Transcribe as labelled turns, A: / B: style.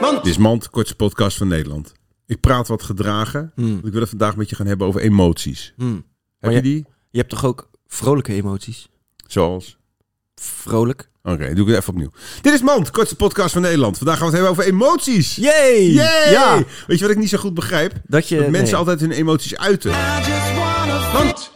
A: Mand.
B: Dit is Mand, kortste podcast van Nederland. Ik praat wat gedragen. want Ik wil het vandaag met je gaan hebben over emoties. Heb je
A: Hmm. Maar
B: die?
A: Je hebt toch ook vrolijke emoties?
B: Zoals?
A: Vrolijk?
B: Oké, doe ik het even opnieuw. Dit is Mand, kortste podcast van Nederland. Vandaag gaan we het hebben over emoties.
A: Yay!
B: Yay!
A: Ja!
B: Weet je wat ik niet zo goed begrijp?
A: Dat je...
B: dat mensen
A: nee.
B: altijd hun emoties uiten.
C: I just wanna
B: Mand!